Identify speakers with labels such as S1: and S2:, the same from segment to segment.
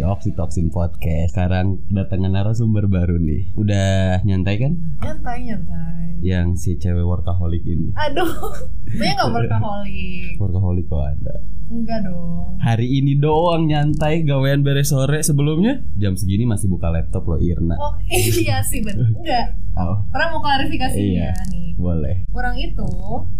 S1: Vaksin Podcast. Sekarang datangnya narasumber baru nih. Udah nyantai kan?
S2: nyantai nyantai
S1: Yang si cewek workaholic ini.
S2: aduh saya nggak workaholic
S1: Workaholic kok anda.
S2: enggak dong
S1: Hari ini doang nyantai gawean beres sore sebelumnya jam segini masih buka laptop loh Irna.
S2: oh iya sih bener enggak
S1: Oh,
S2: orang mau klarifikasi
S1: Iya.
S2: nih
S1: boleh.
S2: orang itu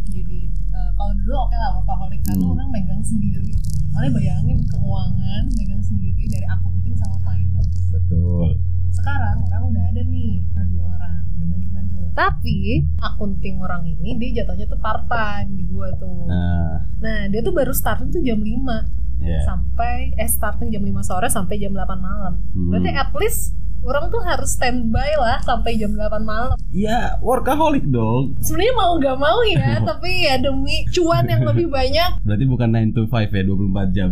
S2: jadi eh, kalau dulu oke lah workaholic karena
S1: Hmm.
S2: orang megang sendiri Makanya bayangin keuangan megang sendiri dari akunting sama finance
S1: Betul.
S2: sekarang orang udah ada nih ada dua orang udah bantu-bantu tapi akunting orang ini dia jatuhnya tuh part time di gua tuh
S1: Nah,
S2: nah dia tuh baru startnya tuh jam 5
S1: ya.
S2: sampai eh starting jam 5 sore sampai jam 8 malam. Berarti
S1: Hmm.
S2: at least orang tuh harus standby lah sampai jam 8 malam.
S1: Ya, workaholic dong.
S2: Sebenarnya mau nggak mau ya, tapi ya demi cuan yang lebih banyak
S1: Berarti bukan 9 to 5 ya, 24 jam.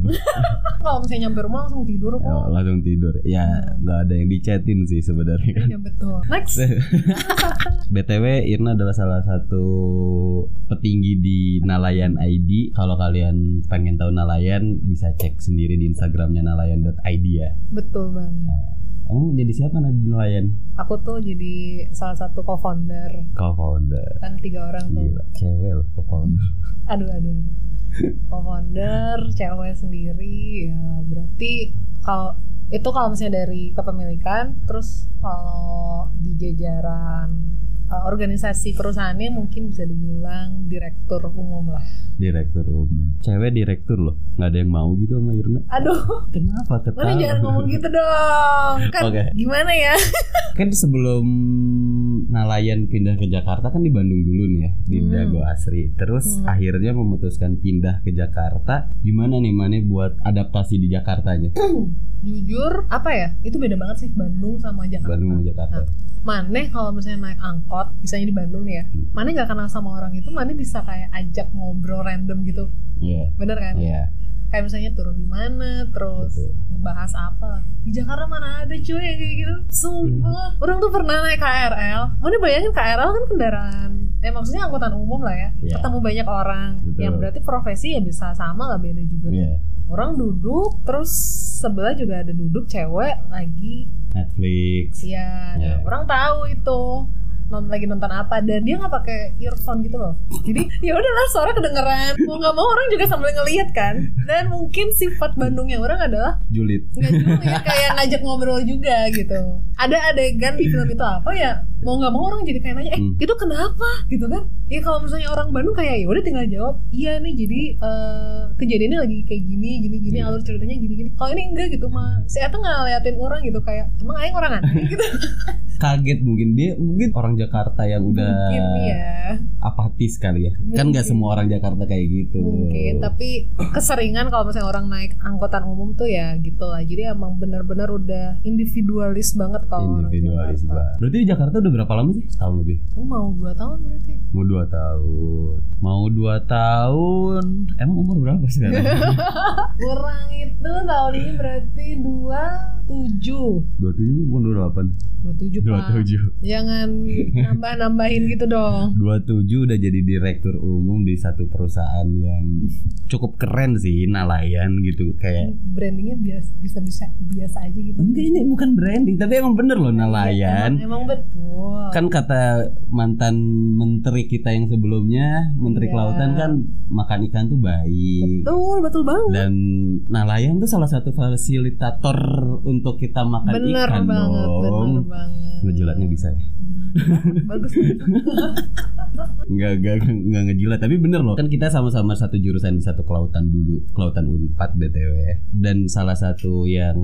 S2: kalau misalnya nyampe rumah langsung tidur
S1: Ya,
S2: kok.
S1: langsung tidur. Ya, nggak ada yang dicetin sih sebenarnya.
S2: Ya betul. Next.
S1: BTW Irna adalah salah satu petinggi di Nalayan ID. Kalau kalian pengen tahu Nalayan bisa cek sendiri di Instagramnya nalayan.id ya. Nah,
S2: Betul banget.
S1: Emang jadi siapa Nabi Nalayan?
S2: Aku tuh jadi salah satu co-founder
S1: Co-founder.
S2: kan tiga orang tuh.
S1: Gila, cewek loh co-founder.
S2: Aduh aduh. aduh. Co-founder cewek sendiri ya berarti kalau itu kalau misalnya dari kepemilikan terus kalau di jajaran eh, organisasi perusahaannya mungkin bisa dibilang direktur umum lah.
S1: Direktur umum. Cewek direktur loh. Nggak ada yang mau gitu sama Irna.
S2: Aduh,
S1: Kenapa
S2: mana
S1: ketawa?
S2: jangan ngomong gitu dong. Kan
S1: Oke.
S2: gimana ya?
S1: Kan sebelum Nalayan pindah ke Jakarta kan di Bandung dulu nih ya di
S2: Hmm.
S1: Dago Asri. Terus
S2: Hmm.
S1: akhirnya memutuskan pindah ke Jakarta. Gimana nih Mane buat adaptasi di Jakartanya?
S2: Jujur apa ya? Itu beda banget sih Bandung sama Jakarta.
S1: Bandung sama Jakarta.
S2: Maneh kalau misalnya naik angkot, misalnya di Bandung nih ya,
S1: Hmm.
S2: Maneh nggak kenal sama orang itu, Maneh bisa kayak ajak ngobrol random gitu,
S1: Iya.
S2: bener kan?
S1: Iya.
S2: Kayak misalnya turun di mana, terus
S1: Betul.
S2: ngebahas apa? Di Jakarta mana ada cuy yang kayak gitu?
S1: Hmm.
S2: Sumpah, orang tuh pernah naik KRL, Maneh bayangin KRL kan kendaraan, eh maksudnya angkutan umum lah ya,
S1: Iya.
S2: ketemu banyak orang,
S1: Betul.
S2: yang berarti profesi ya bisa sama lah beda juga.
S1: Iya.
S2: Orang duduk, terus sebelah juga ada duduk cewek lagi
S1: Netflix.
S2: Iya,
S1: Iya.
S2: nah, orang tahu itu non lagi nonton apa dan dia nggak pakai earphone gitu loh. Jadi ya udahlah suara kedengeran. Mau nggak mau orang juga sambil ngelihat kan. Dan mungkin sifat Bandungnya orang adalah
S1: Julid.
S2: nggak juga ya, kayak ngajak ngobrol juga gitu. Ada adegan di film itu apa ya? Mau nggak mau orang jadi kayak nanya, eh
S1: Hmm.
S2: itu kenapa gitu kan? Ya kalau misalnya orang Bandung kayak ya udah tinggal jawab, iya nih jadi eh, kejadiannya lagi kayak gini, gini, gini,
S1: Iya.
S2: alur ceritanya gini, gini. Kalau ini enggak gitu mah, si Eta nggak ngeliatin orang gitu kayak emang aing orang aneh gitu.
S1: Kaget mungkin dia mungkin orang Jakarta yang udah
S2: Mungkin ya,
S1: apatis kali ya. Kan nggak
S2: Mungkin.
S1: semua orang Jakarta kayak gitu.
S2: mungkin. Tapi keseringan kalau misalnya orang naik angkutan umum tuh ya gitu lah. Jadi emang benar-benar udah individualis banget kalau orang
S1: individualis
S2: Jakarta.
S1: banget. Berarti di Jakarta udah berapa lama sih? Tahun lebih.
S2: Lu mau dua tahun berarti?
S1: Mau dua tahun. Mau dua tahun. Emang umur berapa sekarang?
S2: Kurang itu tahun ini berarti dua tujuh.
S1: Dua tujuh bukan dua delapan.
S2: Dua tujuh
S1: Dua
S2: pak.
S1: tujuh.
S2: Jangan nambah-nambahin gitu dong.
S1: Dua tujuh udah jadi direktur umum di satu perusahaan yang cukup keren sih, nelayan gitu kayak.
S2: Brandingnya biasa bisa bisa biasa aja gitu. Iya,
S1: Enggak ini bukan branding, tapi emang bener loh nelayan.
S2: Emang, emang betul.
S1: Kan kata mantan menteri kita yang sebelumnya, menteri
S2: Iya.
S1: kelautan kan makan ikan tuh baik.
S2: Betul betul banget.
S1: dan nelayan tuh salah satu fasilitator untuk kita makan
S2: Bener
S1: ikan
S2: banget,
S1: dong.
S2: bener banget.
S1: Ngejilatnya bisa ya?
S2: Hmm, Bagus.
S1: Nggak, nggak, nggak ngejilat Tapi bener loh Kan kita sama-sama satu jurusan di satu kelautan dulu Kelautan Unpad BTW ya. Dan salah satu yang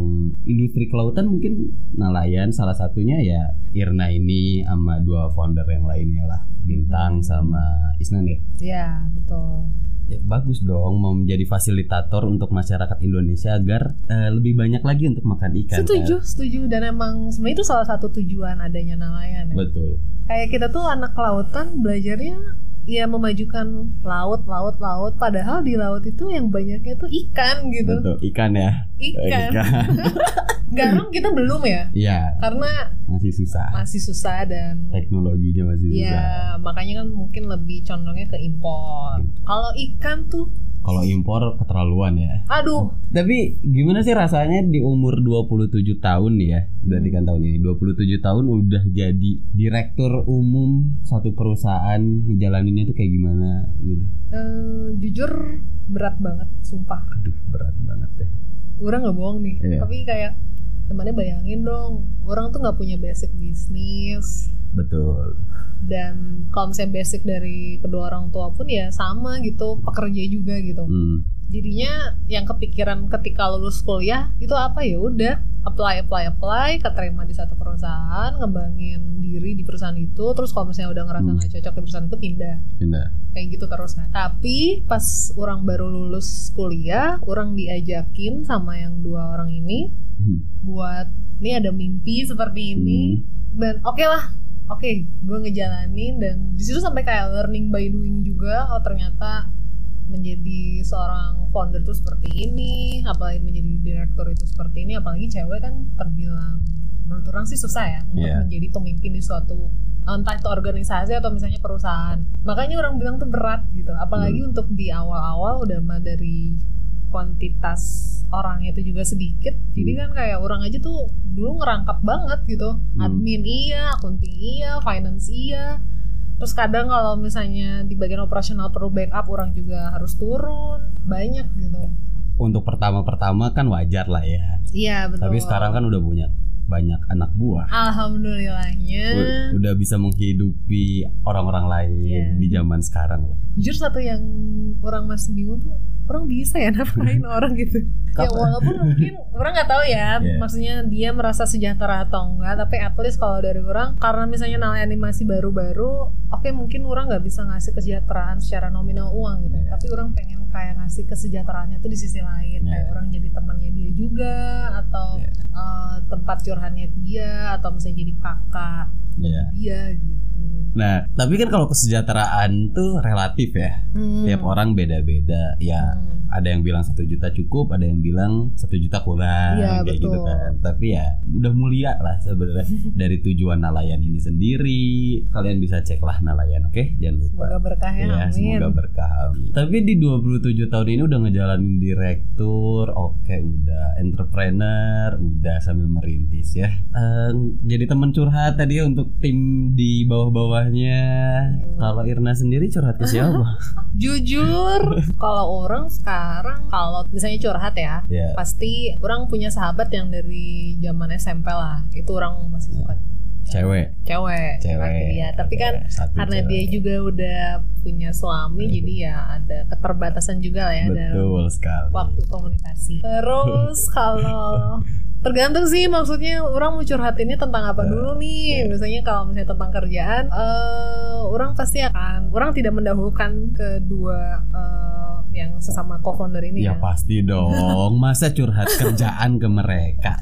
S1: industri kelautan mungkin nelayan Salah satunya ya Irna ini sama dua founder yang lainnya lah Bintang sama Isnan ya
S2: ya betul.
S1: Ya, bagus dong mau menjadi fasilitator untuk masyarakat Indonesia agar eh, lebih banyak lagi untuk makan ikan.
S2: setuju, setuju. Dan emang sebenarnya itu salah satu tujuan adanya
S1: kan?
S2: nelayan. Ya.
S1: Betul.
S2: Kayak kita tuh anak kelautan belajarnya ya memajukan laut, laut, laut. Padahal di laut itu yang banyaknya tuh ikan gitu.
S1: Betul, ikan ya.
S2: Ikan. Garam kita belum ya,
S1: Iya,
S2: karena
S1: masih susah.
S2: masih susah dan
S1: Teknologinya
S2: Iya.
S1: masih susah.
S2: ya makanya kan mungkin lebih condongnya ke impor. Kalau ikan tuh
S1: Kalau impor keterlaluan ya.
S2: Aduh,
S1: Tapi gimana sih rasanya di umur 27 tahun nih ya Berarti kan tahun ini 27 tahun udah jadi direktur umum satu perusahaan Ngejalaninnya tuh kayak gimana gitu
S2: eh, jujur berat banget, sumpah.
S1: Aduh berat banget deh
S2: Orang nggak bohong nih.
S1: Iya.
S2: Tapi kayak temannya bayangin dong, orang tuh nggak punya basic bisnis
S1: Betul
S2: dan kalau misalnya basic dari kedua orang tua pun ya sama gitu, pekerja juga gitu.
S1: hmm.
S2: Jadinya yang kepikiran ketika lulus kuliah itu apa ya udah apply apply apply keterima di satu perusahaan ngembangin diri di perusahaan itu terus kalau misalnya udah ngerasa
S1: Hmm.
S2: nggak cocok di perusahaan itu pindah
S1: Indah
S2: kayak gitu terus nah tapi pas orang baru lulus kuliah orang diajakin sama yang dua orang ini
S1: Hmm.
S2: buat ini ada mimpi seperti ini dan oke lah oke gue ngejalanin dan disitu sampai kayak learning by doing juga oh ternyata menjadi seorang founder tuh seperti ini apalagi menjadi direktur itu seperti ini apalagi cewek kan terbilang menurut orang sih susah ya untuk
S1: Iya.
S2: menjadi pemimpin di suatu entah itu organisasi atau misalnya perusahaan makanya orang bilang tuh berat gitu apalagi untuk di awal-awal udah mah dari kuantitas orangnya itu juga sedikit jadi kan kayak orang aja tuh dulu ngerangkap banget gitu
S1: Hmm.
S2: admin iya accounting iya finance iya terus kadang kalau misalnya di bagian operasional perlu backup orang juga harus turun banyak gitu
S1: Untuk pertama-pertama kan wajar lah ya
S2: iya betul
S1: Tapi sekarang kan udah punya banyak anak buah
S2: alhamdulillahnya
S1: U- Udah bisa menghidupi orang-orang lain
S2: Iya.
S1: di zaman sekarang lah
S2: jujur satu yang orang masih bingung tuh orang bisa ya nafkahin orang gitu ya
S1: Kapan?
S2: walaupun mungkin orang nggak tahu ya
S1: Iya.
S2: maksudnya dia merasa sejahtera atau enggak tapi at least kalau dari orang karena misalnya nelayan masih baru-baru oke mungkin orang nggak bisa ngasih kesejahteraan secara nominal uang gitu
S1: Iya.
S2: tapi orang pengen kayak ngasih kesejahteraannya tuh di sisi lain
S1: Iya.
S2: kayak orang jadi temannya dia juga atau eh, tempat curhannya dia atau misalnya jadi kakak
S1: Iya.
S2: dia gitu
S1: Nah, tapi kan kalau kesejahteraan tuh relatif ya.
S2: Hmm.
S1: Tiap orang beda-beda. Ya,
S2: Hmm.
S1: ada yang bilang satu juta cukup, ada yang bilang satu juta kurang,
S2: Iya,
S1: kayak gitu
S2: betul.
S1: kan. Tapi ya udah mulia lah sebenarnya dari tujuan nelayan ini sendiri. Kalian bisa cek lah nelayan, oke? Jangan lupa.
S2: semoga berkah ya,
S1: Ya,
S2: amin
S1: semoga berkah. amin. Tapi di 27 tahun ini udah ngejalanin direktur, oke udah entrepreneur, udah sambil merintis ya. Eh, jadi teman curhat tadi ya untuk tim di bawah-bawahnya.
S2: Iya.
S1: Kalau Irna sendiri curhat ke siapa?
S2: jujur kalau orang sekarang kalau misalnya curhat ya
S1: ya.
S2: pasti orang punya sahabat yang dari zaman SMP lah itu orang masih suka
S1: Cewek,
S2: cewek
S1: cewek.
S2: pasti ya tapi kan
S1: Oke, satu
S2: karena
S1: cewek. Iya.
S2: dia juga udah punya suami jadi ya ada keterbatasan juga lah ya dalam
S1: betul sekali.
S2: waktu kan. komunikasi terus kalau tergantung sih maksudnya orang mau curhat ini
S1: Iya.
S2: tentang apa dulu nih misalnya kalau misalnya tentang kerjaan eh orang pasti akan orang tidak mendahulukan kedua eh, yang sesama co-founder ini
S1: Ya
S2: ya,
S1: pasti dong. Masa curhat kerjaan ke mereka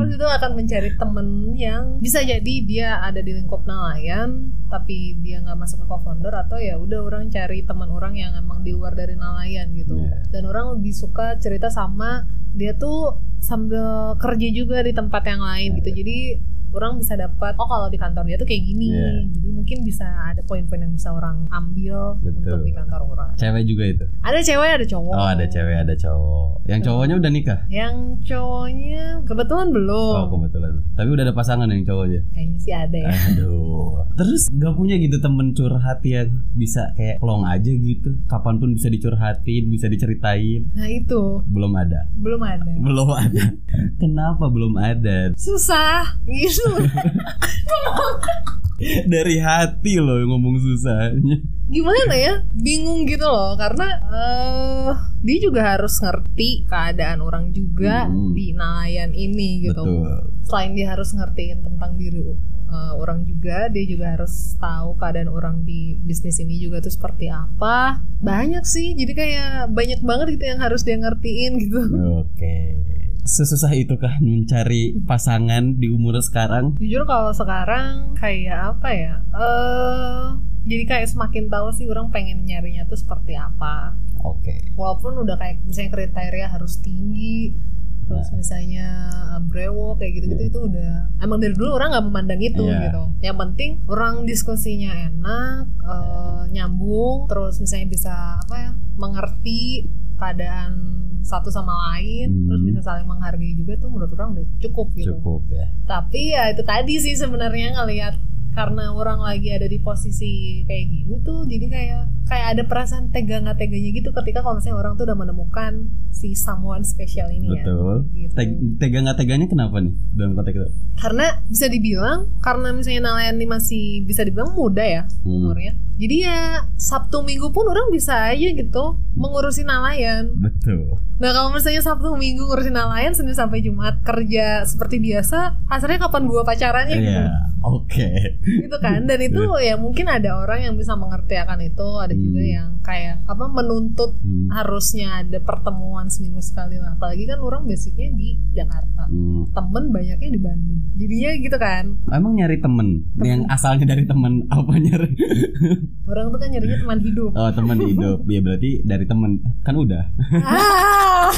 S1: kan?
S2: pasti itu akan mencari temen yang bisa jadi dia ada di lingkup nelayan tapi dia nggak masuk ke co-founder atau ya udah orang cari teman orang yang emang di luar dari nelayan gitu.
S1: Iya.
S2: Dan orang lebih suka cerita sama dia tuh sambil kerja juga di tempat yang lain gitu. Jadi orang bisa dapat oh kalau di kantor dia tuh kayak gini.
S1: Iya.
S2: Jadi mungkin bisa ada poin-poin yang bisa orang ambil
S1: Betul.
S2: untuk di kantor orang.
S1: Cewek juga itu.
S2: Ada cewek, ada cowok.
S1: Oh, ada cewek, ada cowok. Yang cowoknya udah nikah?
S2: Yang cowoknya kebetulan belum.
S1: Oh kebetulan. Tapi udah ada pasangan yang cowoknya.
S2: Kayaknya sih ada ya.
S1: Aduh. Terus gak punya gitu temen curhat yang bisa kayak plong aja gitu. Kapanpun bisa dicurhatin, bisa diceritain.
S2: Nah itu
S1: Belum ada.
S2: belum ada.
S1: Belum ada. Kenapa belum ada?
S2: Susah gitu.
S1: Dari hati loh yang ngomong susahnya.
S2: Gimana ya? Bingung gitu loh karena eh dia juga harus ngerti keadaan orang juga
S1: Hmm.
S2: di nelayan ini gitu.
S1: Betul.
S2: Selain dia harus ngertiin tentang diri eh, orang juga, dia juga harus tahu keadaan orang di bisnis ini juga tuh seperti apa. Banyak sih, jadi kayak banyak banget gitu yang harus dia ngertiin gitu.
S1: Oke. Sesusah itukah mencari pasangan di umur sekarang?
S2: jujur kalau sekarang kayak apa ya eh jadi kayak semakin tahu sih orang pengen nyarinya tuh seperti apa
S1: Oke.
S2: walaupun udah kayak misalnya kriteria harus tinggi terus
S1: Nah.
S2: misalnya uh, brewo kayak gitu-gitu itu udah emang dari dulu orang nggak memandang itu
S1: Iya.
S2: gitu yang penting orang diskusinya enak uh, nyambung terus misalnya bisa apa ya mengerti keadaan satu sama lain
S1: Hmm.
S2: terus bisa saling menghargai juga tuh menurut orang udah cukup gitu
S1: cukup ya
S2: tapi ya itu tadi sih sebenarnya ngelihat karena orang lagi ada di posisi kayak gini tuh jadi kayak kayak ada perasaan tega nggak teganya gitu ketika kalau misalnya orang tuh udah menemukan si someone special ini ya
S1: betul
S2: gitu.
S1: Teg- tega nggak teganya kenapa nih dalam konteks itu
S2: karena bisa dibilang karena misalnya Nalayan ini masih bisa dibilang muda ya
S1: Hmm,
S2: umurnya jadi ya Sabtu Minggu pun orang bisa aja gitu mengurusi Nalayan
S1: betul
S2: Nah kalau misalnya Sabtu Minggu ngurusin Nalayan Senin sampai Jumat kerja seperti biasa Asalnya kapan gua pacarannya gitu
S1: Iya, oke
S2: gitu kan dan itu ya mungkin ada orang yang bisa mengerti akan itu ada juga
S1: Hmm.
S2: yang kayak apa menuntut
S1: Hmm,
S2: harusnya ada pertemuan seminggu sekali lah apalagi kan orang basicnya di Jakarta
S1: hmm.
S2: temen banyaknya di Bandung jadinya gitu kan
S1: Emang nyari temen, yang asalnya dari temen apa nyari?
S2: orang tuh kan nyarinya teman hidup
S1: Oh temen hidup, ya berarti dari temen kan udah
S2: ah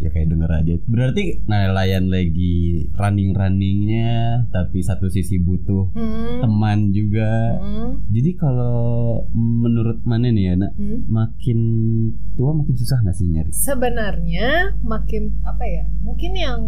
S1: ya kayak denger aja berarti nelayan lagi running runningnya tapi satu sisi butuh
S2: hmm.
S1: teman juga
S2: Hmm.
S1: jadi kalau menurut mana nih ya nak
S2: Hmm.
S1: makin tua makin susah nggak sih nyari
S2: sebenarnya makin apa ya mungkin yang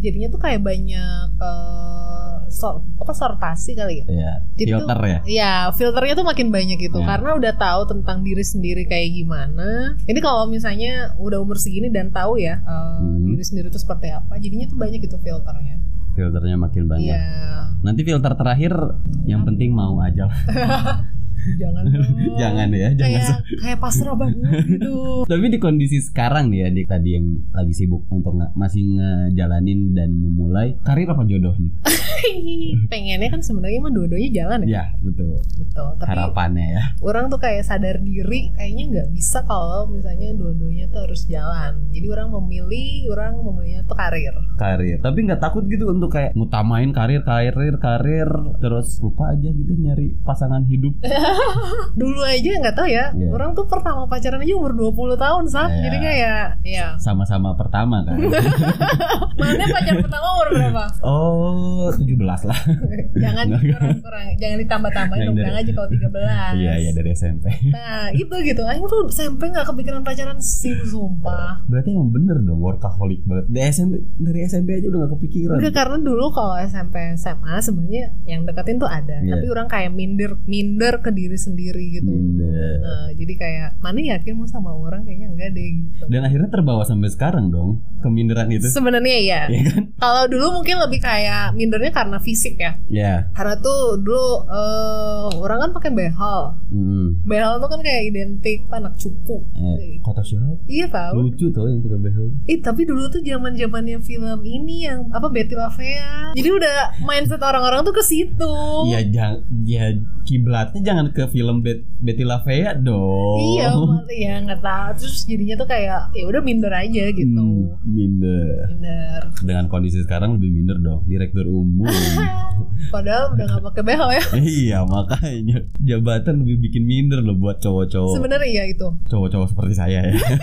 S2: jadinya tuh kayak banyak eh, sor- apa sortasi kali ya
S1: ya
S2: Jadi tuh-
S1: filter ya
S2: Ya, filternya tuh makin banyak gitu
S1: Ya.
S2: karena udah tahu tentang diri sendiri kayak gimana. Ini kalau misalnya udah umur segini dan tahu ya eh,
S1: Hmm.
S2: diri sendiri tuh seperti apa, jadinya tuh banyak gitu filternya.
S1: filternya makin banyak
S2: Iya,
S1: nanti filter terakhir yang penting mau aja lah.
S2: jangan dong.
S1: jangan ya jangan
S2: kayak kayak pasrah banget gitu.
S1: Tapi di kondisi sekarang nih ya, adik tadi yang lagi sibuk untuk nge- masih ngejalanin dan memulai karir apa jodoh nih?
S2: Pengennya kan sebenarnya mah dua-duanya jalan ya.
S1: ya betul.
S2: Betul. Tapi
S1: Harapannya ya.
S2: orang tuh kayak sadar diri kayaknya nggak bisa kalau misalnya dua-duanya tuh harus jalan. Jadi orang memilih, orang memilihnya tuh karir.
S1: karir tapi nggak takut gitu untuk kayak ngutamain karir karir karir terus lupa aja gitu nyari pasangan hidup
S2: dulu aja nggak tahu ya
S1: Iya.
S2: orang tuh pertama pacaran aja umur 20 tahun sab
S1: Iya.
S2: jadi kayak ya
S1: sama-sama pertama kan
S2: mana pacar pertama umur berapa
S1: oh 17 lah
S2: jangan
S1: Nggak,
S2: kurang-kurang jangan ditambah-tambahin
S1: Yang
S2: dong
S1: dari-
S2: bilang aja kalau 13
S1: iya iya dari SMP
S2: nah itu gitu aing tuh SMP nggak kepikiran pacaran sih sumpah
S1: berarti emang bener dong workaholic banget dari SMP dari SMP aja udah gak kepikiran
S2: Udah gitu. karena dulu kalau SMP SMA sebenarnya yang deketin tuh ada,
S1: Iya.
S2: tapi orang kayak minder minder ke diri sendiri gitu.
S1: Minder.
S2: Nah, jadi kayak mana yakin mau sama orang kayaknya enggak deh gitu.
S1: dan akhirnya terbawa sampai sekarang dong keminderan itu
S2: Sebenarnya iya.
S1: Iya kan
S2: Kalau dulu mungkin lebih kayak mindernya karena fisik ya.
S1: ya
S2: Karena tuh dulu eh, orang kan pakai behel.
S1: Mm-mm.
S2: Behel tuh kan kayak identik anak cupu.
S1: eh, kota siapa
S2: Iya tahu.
S1: lucu tuh yang pakai behel
S2: Ih, tapi dulu tuh zaman-zamannya film ini yang apa Betty La Fea. Jadi udah mindset orang-orang tuh ke situ.
S1: Iya, jangan ya kiblatnya jangan ke film Bet Betty La Fea dong.
S2: Iya, malah ya nggak tahu. Terus jadinya tuh kayak ya udah minder aja gitu.
S1: Hmm, minder.
S2: Minder.
S1: Dengan kondisi sekarang lebih minder dong. Direktur umum.
S2: Padahal udah nggak pakai behel ya.
S1: iya, makanya jabatan lebih bikin minder loh buat cowok-cowok.
S2: Sebenarnya iya itu.
S1: Cowok-cowok seperti saya ya.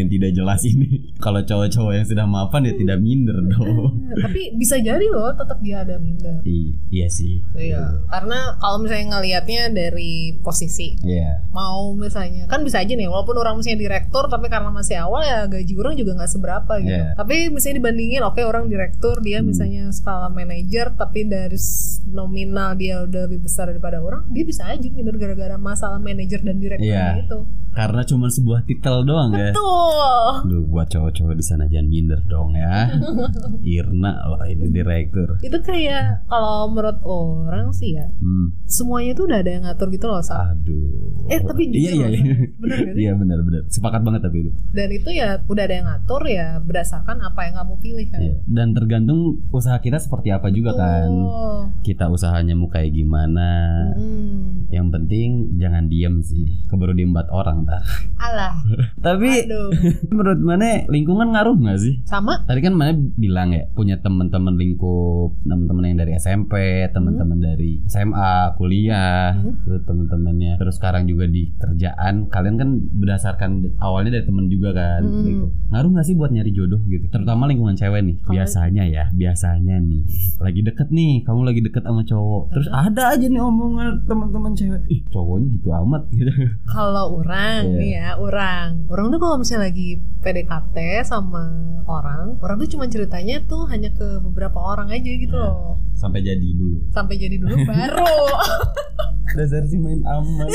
S1: yang tidak jelas ini. Kalau cowok-cowok yang sudah mapan ya tidak minder dong.
S2: Tapi bisa jadi loh tetap dia ada minder.
S1: I- iya sih.
S2: Iya, karena kalau misalnya ngelihatnya dari posisi
S1: Iya.
S2: mau misalnya kan bisa aja nih walaupun orang misalnya direktur tapi karena masih awal ya gaji orang juga nggak seberapa gitu.
S1: Iya.
S2: Tapi misalnya dibandingin oke orang direktur dia
S1: Hmm.
S2: misalnya skala manajer tapi dari s- nominal dia udah lebih besar daripada orang, dia bisa aja minder gara-gara masalah manajer dan direktur
S1: Iya.
S2: itu.
S1: Karena cuma sebuah titel doang ya.
S2: Tuh.
S1: Lu buat cowok-cowok di sana jangan minder dong ya. Irna loh ini direktur.
S2: Itu kayak kalau menurut orang sih ya,
S1: Hmm.
S2: semuanya tuh udah ada yang ngatur gitu loh, Sa.
S1: Aduh.
S2: Eh, tapi jujur
S1: Ah. iya iya
S2: loh,
S1: iya.
S2: Sa. Bener gak sih?
S1: Iya benar benar. Sepakat banget tapi itu.
S2: dan itu ya udah ada yang ngatur ya berdasarkan apa yang kamu pilih kan
S1: Iya. Dan tergantung usaha kita seperti apa juga kan.
S2: Oh.
S1: Kita usahanya mau kayak gimana.
S2: Hmm.
S1: Yang penting jangan diem sih. Keburu diem buat orang ntar.
S2: alah
S1: Tapi
S2: aduh
S1: menurut mana lingkungan ngaruh nggak sih?
S2: sama
S1: Tadi
S2: Hmm.
S1: kan mana bilang ya punya teman-teman lingkup, teman-teman yang dari SMP, teman-teman dari SMA, kuliah,
S2: Mhm.
S1: terus teman-temannya. Terus sekarang juga di kerjaan, kalian kan berdasarkan awalnya dari temen juga kan.
S2: Mhm.
S1: Gitu. Ngaruh nggak sih buat nyari jodoh gitu? Terutama lingkungan cewek nih.
S2: Kalau-
S1: Biasanya ya, biasanya nih. Lagi deket nih, kamu lagi deket sama cowok. Terus ada aja nih omongan teman-teman cewek. Ih, cowoknya gitu amat gitu.
S2: Kalau orang
S1: Iya.
S2: nih ya, orang. Orang tuh kalau misalnya lagi PDKT sama orang, orang tuh cuma ceritanya tuh hanya ke beberapa orang aja gitu
S1: Iya.
S2: loh.
S1: Sampai jadi dulu.
S2: Sampai jadi dulu baru.
S1: Dasar sih main aman.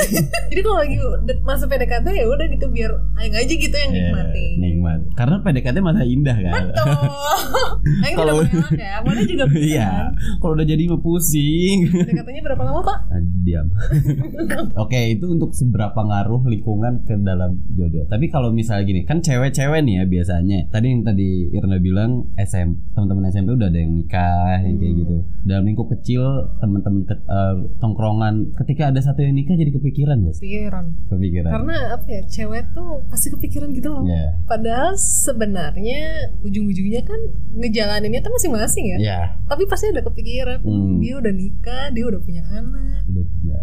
S2: jadi kalau lagi de- masa PDKT ya udah gitu biar aing aja gitu yang
S1: Iya,
S2: nikmatin.
S1: nikmat. Karena PDKT masa indah kan.
S2: Tuh. Aing tidak
S1: Kalau-
S2: mengelak ya. Mana juga
S1: Iya, kalau udah jadi mah pusing.
S2: PDKT-nya berapa lama, Pak?
S1: Ah, diam. Oke, itu untuk seberapa ngaruh lingkungan ke dalam jodoh. Tapi kalau misalnya gini, kan cewek-cewek nih ya biasanya. Tadi yang tadi Irna bilang SM, teman-teman SMP udah ada yang nikah yang kayak
S2: Hmm.
S1: gitu. Dalam lingkup kecil, teman-teman ke- eh, tongkrongan, ketika ada satu yang nikah jadi kepikiran ya?
S2: Pikiran.
S1: Kepikiran.
S2: Karena apa ya, cewek tuh pasti kepikiran gitu loh.
S1: Ya.
S2: Padahal sebenarnya ujung-ujungnya kan ngejalaninnya tuh masing-masing ya.
S1: Ya.
S2: Tapi pasti ada kepikiran.
S1: Hmm.
S2: Dia udah nikah, dia udah punya anak.
S1: Udah punya.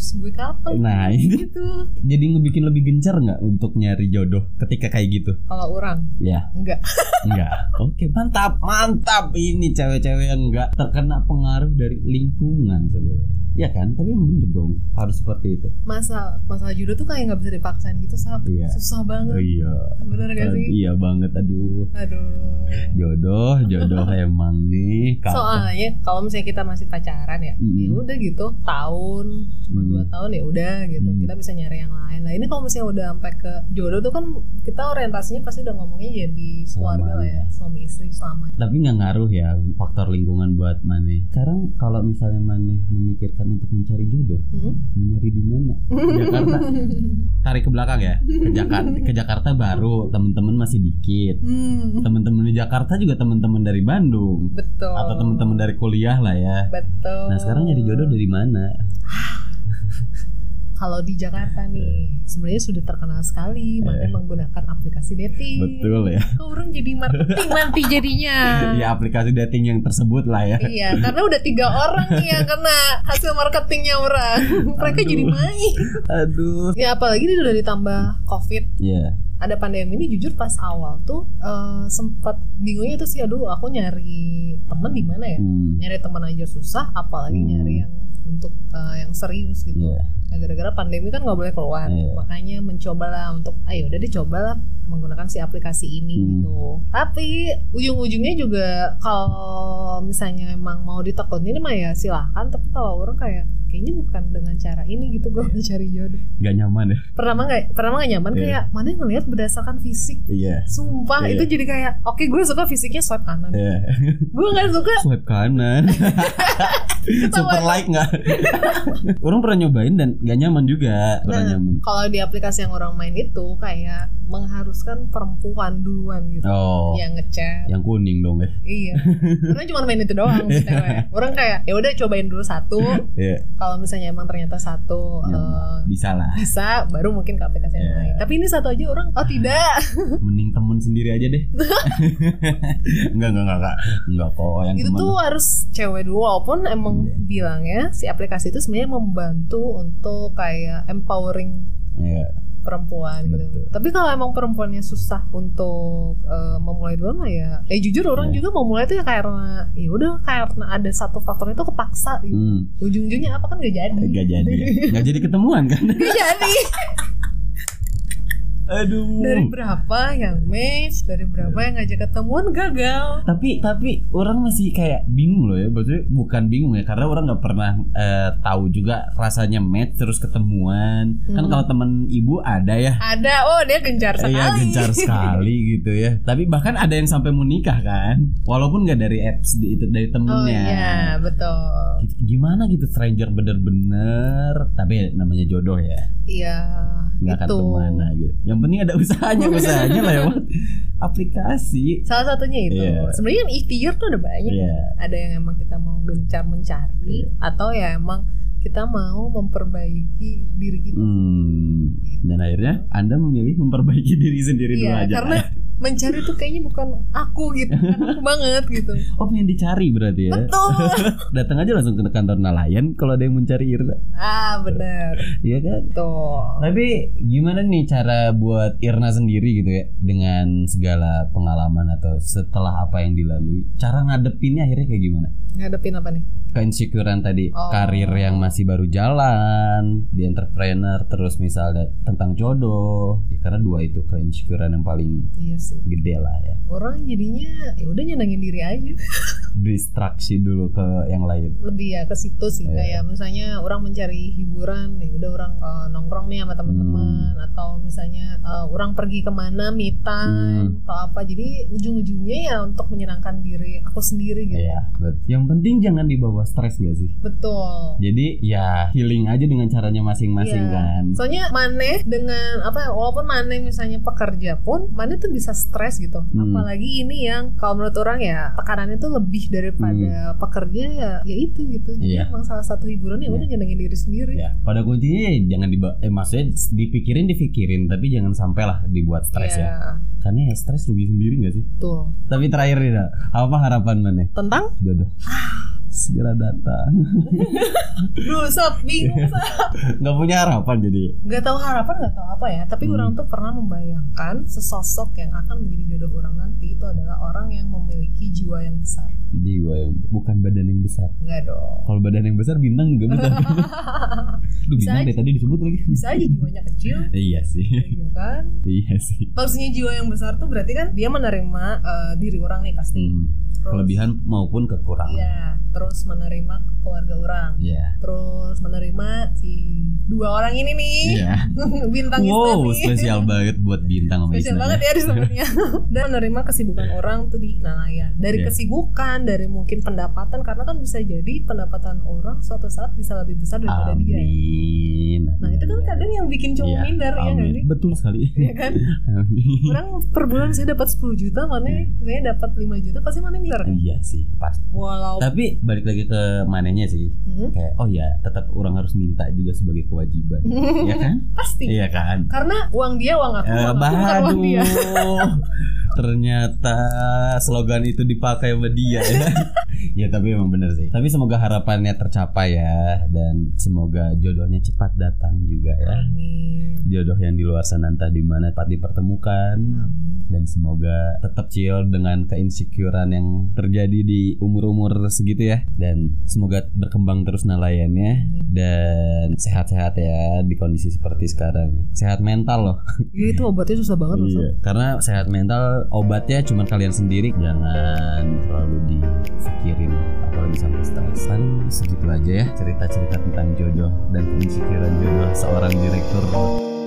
S2: Terus gue kapan?
S1: Nah, ini
S2: Gitu.
S1: jadi ngebikin lebih gencar nggak untuk nyari jodoh ketika kayak gitu?
S2: Kalau orang
S1: Ya.
S2: enggak.
S1: Enggak. Oke, mantap, mantap. Ini cewek-cewek yang enggak terkena pengaruh dari lingkungan sebenarnya. Ya kan? Tapi emang bener dong, harus seperti itu.
S2: Masa masalah jodoh tuh kayak nggak bisa dipaksain gitu, Sab.
S1: Iya.
S2: Susah banget.
S1: iya.
S2: Bener gak sih?
S1: Iya banget aduh.
S2: Aduh.
S1: Jodoh, jodoh emang nih. Kapan-
S2: Soalnya kalau misalnya kita masih pacaran ya,
S1: Mm.
S2: ya udah gitu, tahun cuma
S1: Mm.
S2: dua tahun ya udah gitu.
S1: Mm.
S2: Kita bisa nyari yang lain. Nah, ini kalau misalnya udah sampai ke jodoh tuh kan kita orientasinya pasti udah ngomongnya jadi keluarga lah ya, suami istri selama.
S1: Tapi nggak ngaruh ya faktor lingkungan buat Mane. Sekarang kalau misalnya Mane memikirkan untuk mencari jodoh,
S2: Hmm?
S1: mencari di mana? Jakarta. Tarik ke belakang ya. Ke Jakarta, ke Jakarta baru teman-teman masih dikit.
S2: Hmm.
S1: Teman-teman di Jakarta juga teman-teman dari Bandung.
S2: Betul.
S1: atau teman-teman dari kuliah lah ya.
S2: Betul.
S1: Nah sekarang nyari jodoh dari mana?
S2: Kalau di Jakarta
S1: Eh.
S2: nih, sebenarnya sudah terkenal sekali Mane menggunakan aplikasi dating.
S1: ya.
S2: Kok orang jadi marketing nanti jadinya.
S1: Ya aplikasi dating yang tersebut lah ya.
S2: Iya, karena udah tiga orang nih yang kena hasil marketingnya orang. Mereka
S1: Aduh.
S2: jadi main.
S1: Aduh.
S2: Ya apalagi ini udah ditambah COVID.
S1: Ya.
S2: Ada pandemi ini jujur pas awal tuh eh, sempat bingungnya itu sih aduh aku nyari temen di mana ya?
S1: Hmm.
S2: Nyari temen aja susah, apalagi
S1: Hmm.
S2: nyari yang untuk eh, yang serius gitu.
S1: Ya.
S2: Nah, gara-gara pandemi kan nggak boleh keluar
S1: Iya.
S2: makanya mencobalah untuk ayo udah deh cobalah menggunakan si aplikasi ini
S1: Hmm.
S2: gitu tapi ujung-ujungnya juga kalau misalnya emang mau ditekunin mah ya silahkan tapi kalau orang kayak kayaknya bukan dengan cara ini gitu gue mau cari jodoh
S1: Gak nyaman ya.
S2: pertama nggak pertama nggak nyaman
S1: Iya.
S2: kayak mana ngelihat berdasarkan fisik
S1: Iya.
S2: sumpah
S1: Iya.
S2: itu jadi kayak oke gue suka fisiknya swipe kanan
S1: Iya.
S2: gue nggak suka
S1: Swipe kanan. Super like nggak? Orang pernah nyobain dan gak nyaman juga. Pernah
S2: Nah.
S1: nyaman.
S2: kalau di aplikasi yang orang main itu kayak mengharuskan perempuan duluan gitu
S1: Oh.
S2: yang ngechat
S1: Yang kuning dong ya.
S2: Iya. Karena cuma main itu doang cewek. Orang kayak ya udah cobain dulu satu.
S1: Iya.
S2: Kalau misalnya emang ternyata satu
S1: Yang
S2: eh,
S1: Ya, Bisa lah.
S2: bisa baru mungkin ke aplikasi yang
S1: Iya.
S2: lain. Tapi ini satu aja orang oh tidak.
S1: Mending temen sendiri aja deh. Enggak enggak enggak enggak. Enggak kok yang
S2: itu
S1: temen.
S2: tuh harus cewek dulu walaupun emang
S1: Iya.
S2: bilangnya si aplikasi itu sebenarnya membantu untuk kayak empowering
S1: Iya.
S2: perempuan
S1: Betul.
S2: gitu. Tapi kalau emang perempuannya susah untuk eh, memulai duluan lah ya. Eh jujur orang
S1: Iya.
S2: juga memulai itu ya karena ya udah karena ada satu faktor itu kepaksa gitu.
S1: Hmm.
S2: Ujung-ujungnya apa kan gak jadi.
S1: Gak jadi ya. Gak jadi ketemuan kan
S2: Gak jadi
S1: Aduh
S2: Dari berapa yang match Dari berapa yang ngajak ketemuan gagal
S1: Tapi tapi orang masih kayak bingung loh ya Maksudnya bukan bingung ya Karena orang gak pernah eh, tahu juga rasanya match terus ketemuan Kan
S2: Hmm.
S1: kalau temen ibu ada ya
S2: Ada oh dia gencar sekali Oh,
S1: Iya gencar sekali gitu ya Tapi bahkan ada yang sampai mau nikah kan Walaupun gak dari apps di- itu dari
S2: Oh
S1: temennya
S2: iya betul
S1: Gitu- Gimana gitu stranger bener-bener Tapi namanya jodoh ya
S2: Iya
S1: nggak akan
S2: itu
S1: kemana gitu. Yang penting ada usahanya, usahanya lewat aplikasi.
S2: Salah satunya itu
S1: Iya.
S2: Sebenarnya yang ikhtiar tuh ada banyak
S1: Iya,
S2: Ada yang emang kita mau gencar mencari Atau ya emang kita mau memperbaiki diri kita
S1: Hmm. Dan akhirnya Anda memilih memperbaiki diri sendiri dulu
S2: Iya
S1: aja.
S2: karena mencari tuh kayaknya bukan aku gitu bukan aku banget gitu
S1: Oh pengen dicari berarti ya
S2: betul
S1: Datang aja langsung ke kantor nelayan Kalau ada yang mencari Irna
S2: ah bener
S1: Iya kan
S2: tuh
S1: Tapi gimana nih cara buat Irna sendiri gitu ya Dengan segala pengalaman atau setelah apa yang dilalui Cara ngadepinnya akhirnya kayak gimana?
S2: ngadepin apa nih
S1: Keinsecurean tadi
S2: Oh.
S1: Karir yang masih baru jalan Di entrepreneur Terus misalnya tentang jodoh ya, Karena dua itu keinsecurean yang paling
S2: iya sih
S1: gede lah ya
S2: orang jadinya ya udah nyenengin diri aja
S1: Distraksi dulu ke yang lain
S2: lebih ya ke situ sih
S1: Iya.
S2: kayak misalnya orang mencari hiburan ya udah orang eh, nongkrong nih
S1: Hmm.
S2: sama teman-teman atau misalnya eh, orang pergi kemana me
S1: Hmm.
S2: time atau apa jadi ujung-ujungnya ya untuk menyenangkan diri aku sendiri gitu
S1: Iya, bet- Yang penting jangan dibawa stres gak sih?
S2: betul
S1: Jadi ya healing aja dengan caranya masing-masing
S2: Iya.
S1: kan.
S2: Soalnya Mane dengan apa ya, walaupun Mane misalnya pekerja pun Mane tuh bisa stres gitu.
S1: Hmm.
S2: Apalagi ini yang kalau menurut orang ya tekanannya tuh lebih daripada pekerja ya ya itu gitu. Jadi
S1: Hmm. Iya.
S2: emang salah satu hiburan ya
S1: Iya.
S2: udah nyenengin diri sendiri.
S1: Ya, pada kuncinya ya jangan diba eh maksudnya dipikirin dipikirin tapi jangan sampailah dibuat stres
S2: Iya,
S1: ya. Karena ya stres rugi sendiri gak sih?
S2: Tuh.
S1: Tapi terakhir nih, Ra. apa harapan mana?
S2: Tentang
S1: Jodoh.
S2: Ah.
S1: Segera datang.
S2: Duh, sob,
S1: Iya.
S2: bingung sob.
S1: Gak punya harapan jadi.
S2: Gak tahu harapan, gak tahu apa ya Tapi
S1: Hmm.
S2: orang tuh pernah membayangkan Sesosok yang akan menjadi jodoh orang nanti Itu adalah orang yang memiliki jiwa yang besar
S1: Jiwa yang bukan badan yang besar.
S2: Enggak dong
S1: Kalau badan yang besar bintang juga besar. Lu
S2: Bisa
S1: bintang
S2: aja.
S1: deh tadi disebut lagi.
S2: Bisa aja jiwanya kecil
S1: Iya sih.
S2: Iya kan
S1: iya sih.
S2: maksudnya jiwa yang besar tuh berarti kan dia menerima eh, diri orang nih pasti
S1: Hmm,
S2: terus,
S1: Kelebihan maupun kekurangan.
S2: iya terus menerima keluarga orang
S1: Iya.
S2: terus menerima si dua orang ini nih
S1: Iya.
S2: bintang
S1: Wow,
S2: Isna nih.
S1: spesial banget buat bintang sama
S2: Spesial
S1: Isna.
S2: banget ya disebutnya Dan menerima kesibukan orang tuh di nelayan Dari
S1: Iya.
S2: kesibukan, dari mungkin pendapatan Karena kan bisa jadi pendapatan orang suatu saat bisa lebih besar daripada dia ya.
S1: Amin.
S2: Nah itu kan kadang yang bikin cowok
S1: Iya,
S2: minder ya nggak
S1: Amin.
S2: sih?
S1: Betul sekali.
S2: Iya kan?
S1: Amin.
S2: orang per bulan saya dapat 10 juta mana saya dapat 5 juta pasti mana minder kan
S1: Iya sih, pasti.
S2: walau
S1: Tapi balik lagi ke mananya sih.
S2: Hmm,
S1: Kayak oh ya, tetap orang harus minta juga sebagai kewajiban. Iya kan?
S2: pasti
S1: Iya kan?
S2: karena uang dia uang aku
S1: Eh,
S2: uang aku bukan uang dia
S1: Aduh. Ternyata slogan itu dipakai sama dia ya. ya tapi emang bener sih. Tapi semoga harapannya tercapai ya dan semoga jodohnya cepat datang juga ya.
S2: amin
S1: Jodoh yang di luar sana entah di mana dapat dipertemukan
S2: amin
S1: dan semoga tetap chill dengan keinsecurean yang terjadi di umur-umur segitu ya dan semoga berkembang terus nelayannya dan sehat-sehat ya di kondisi seperti sekarang sehat mental loh
S2: ya itu obatnya susah banget loh Sob.
S1: Iya, karena sehat mental obatnya cuma kalian sendiri. Jangan terlalu dipikirin apalagi sampai stres. Paling segitu aja ya cerita-cerita tentang jodoh dan pemikiran jodoh seorang direktur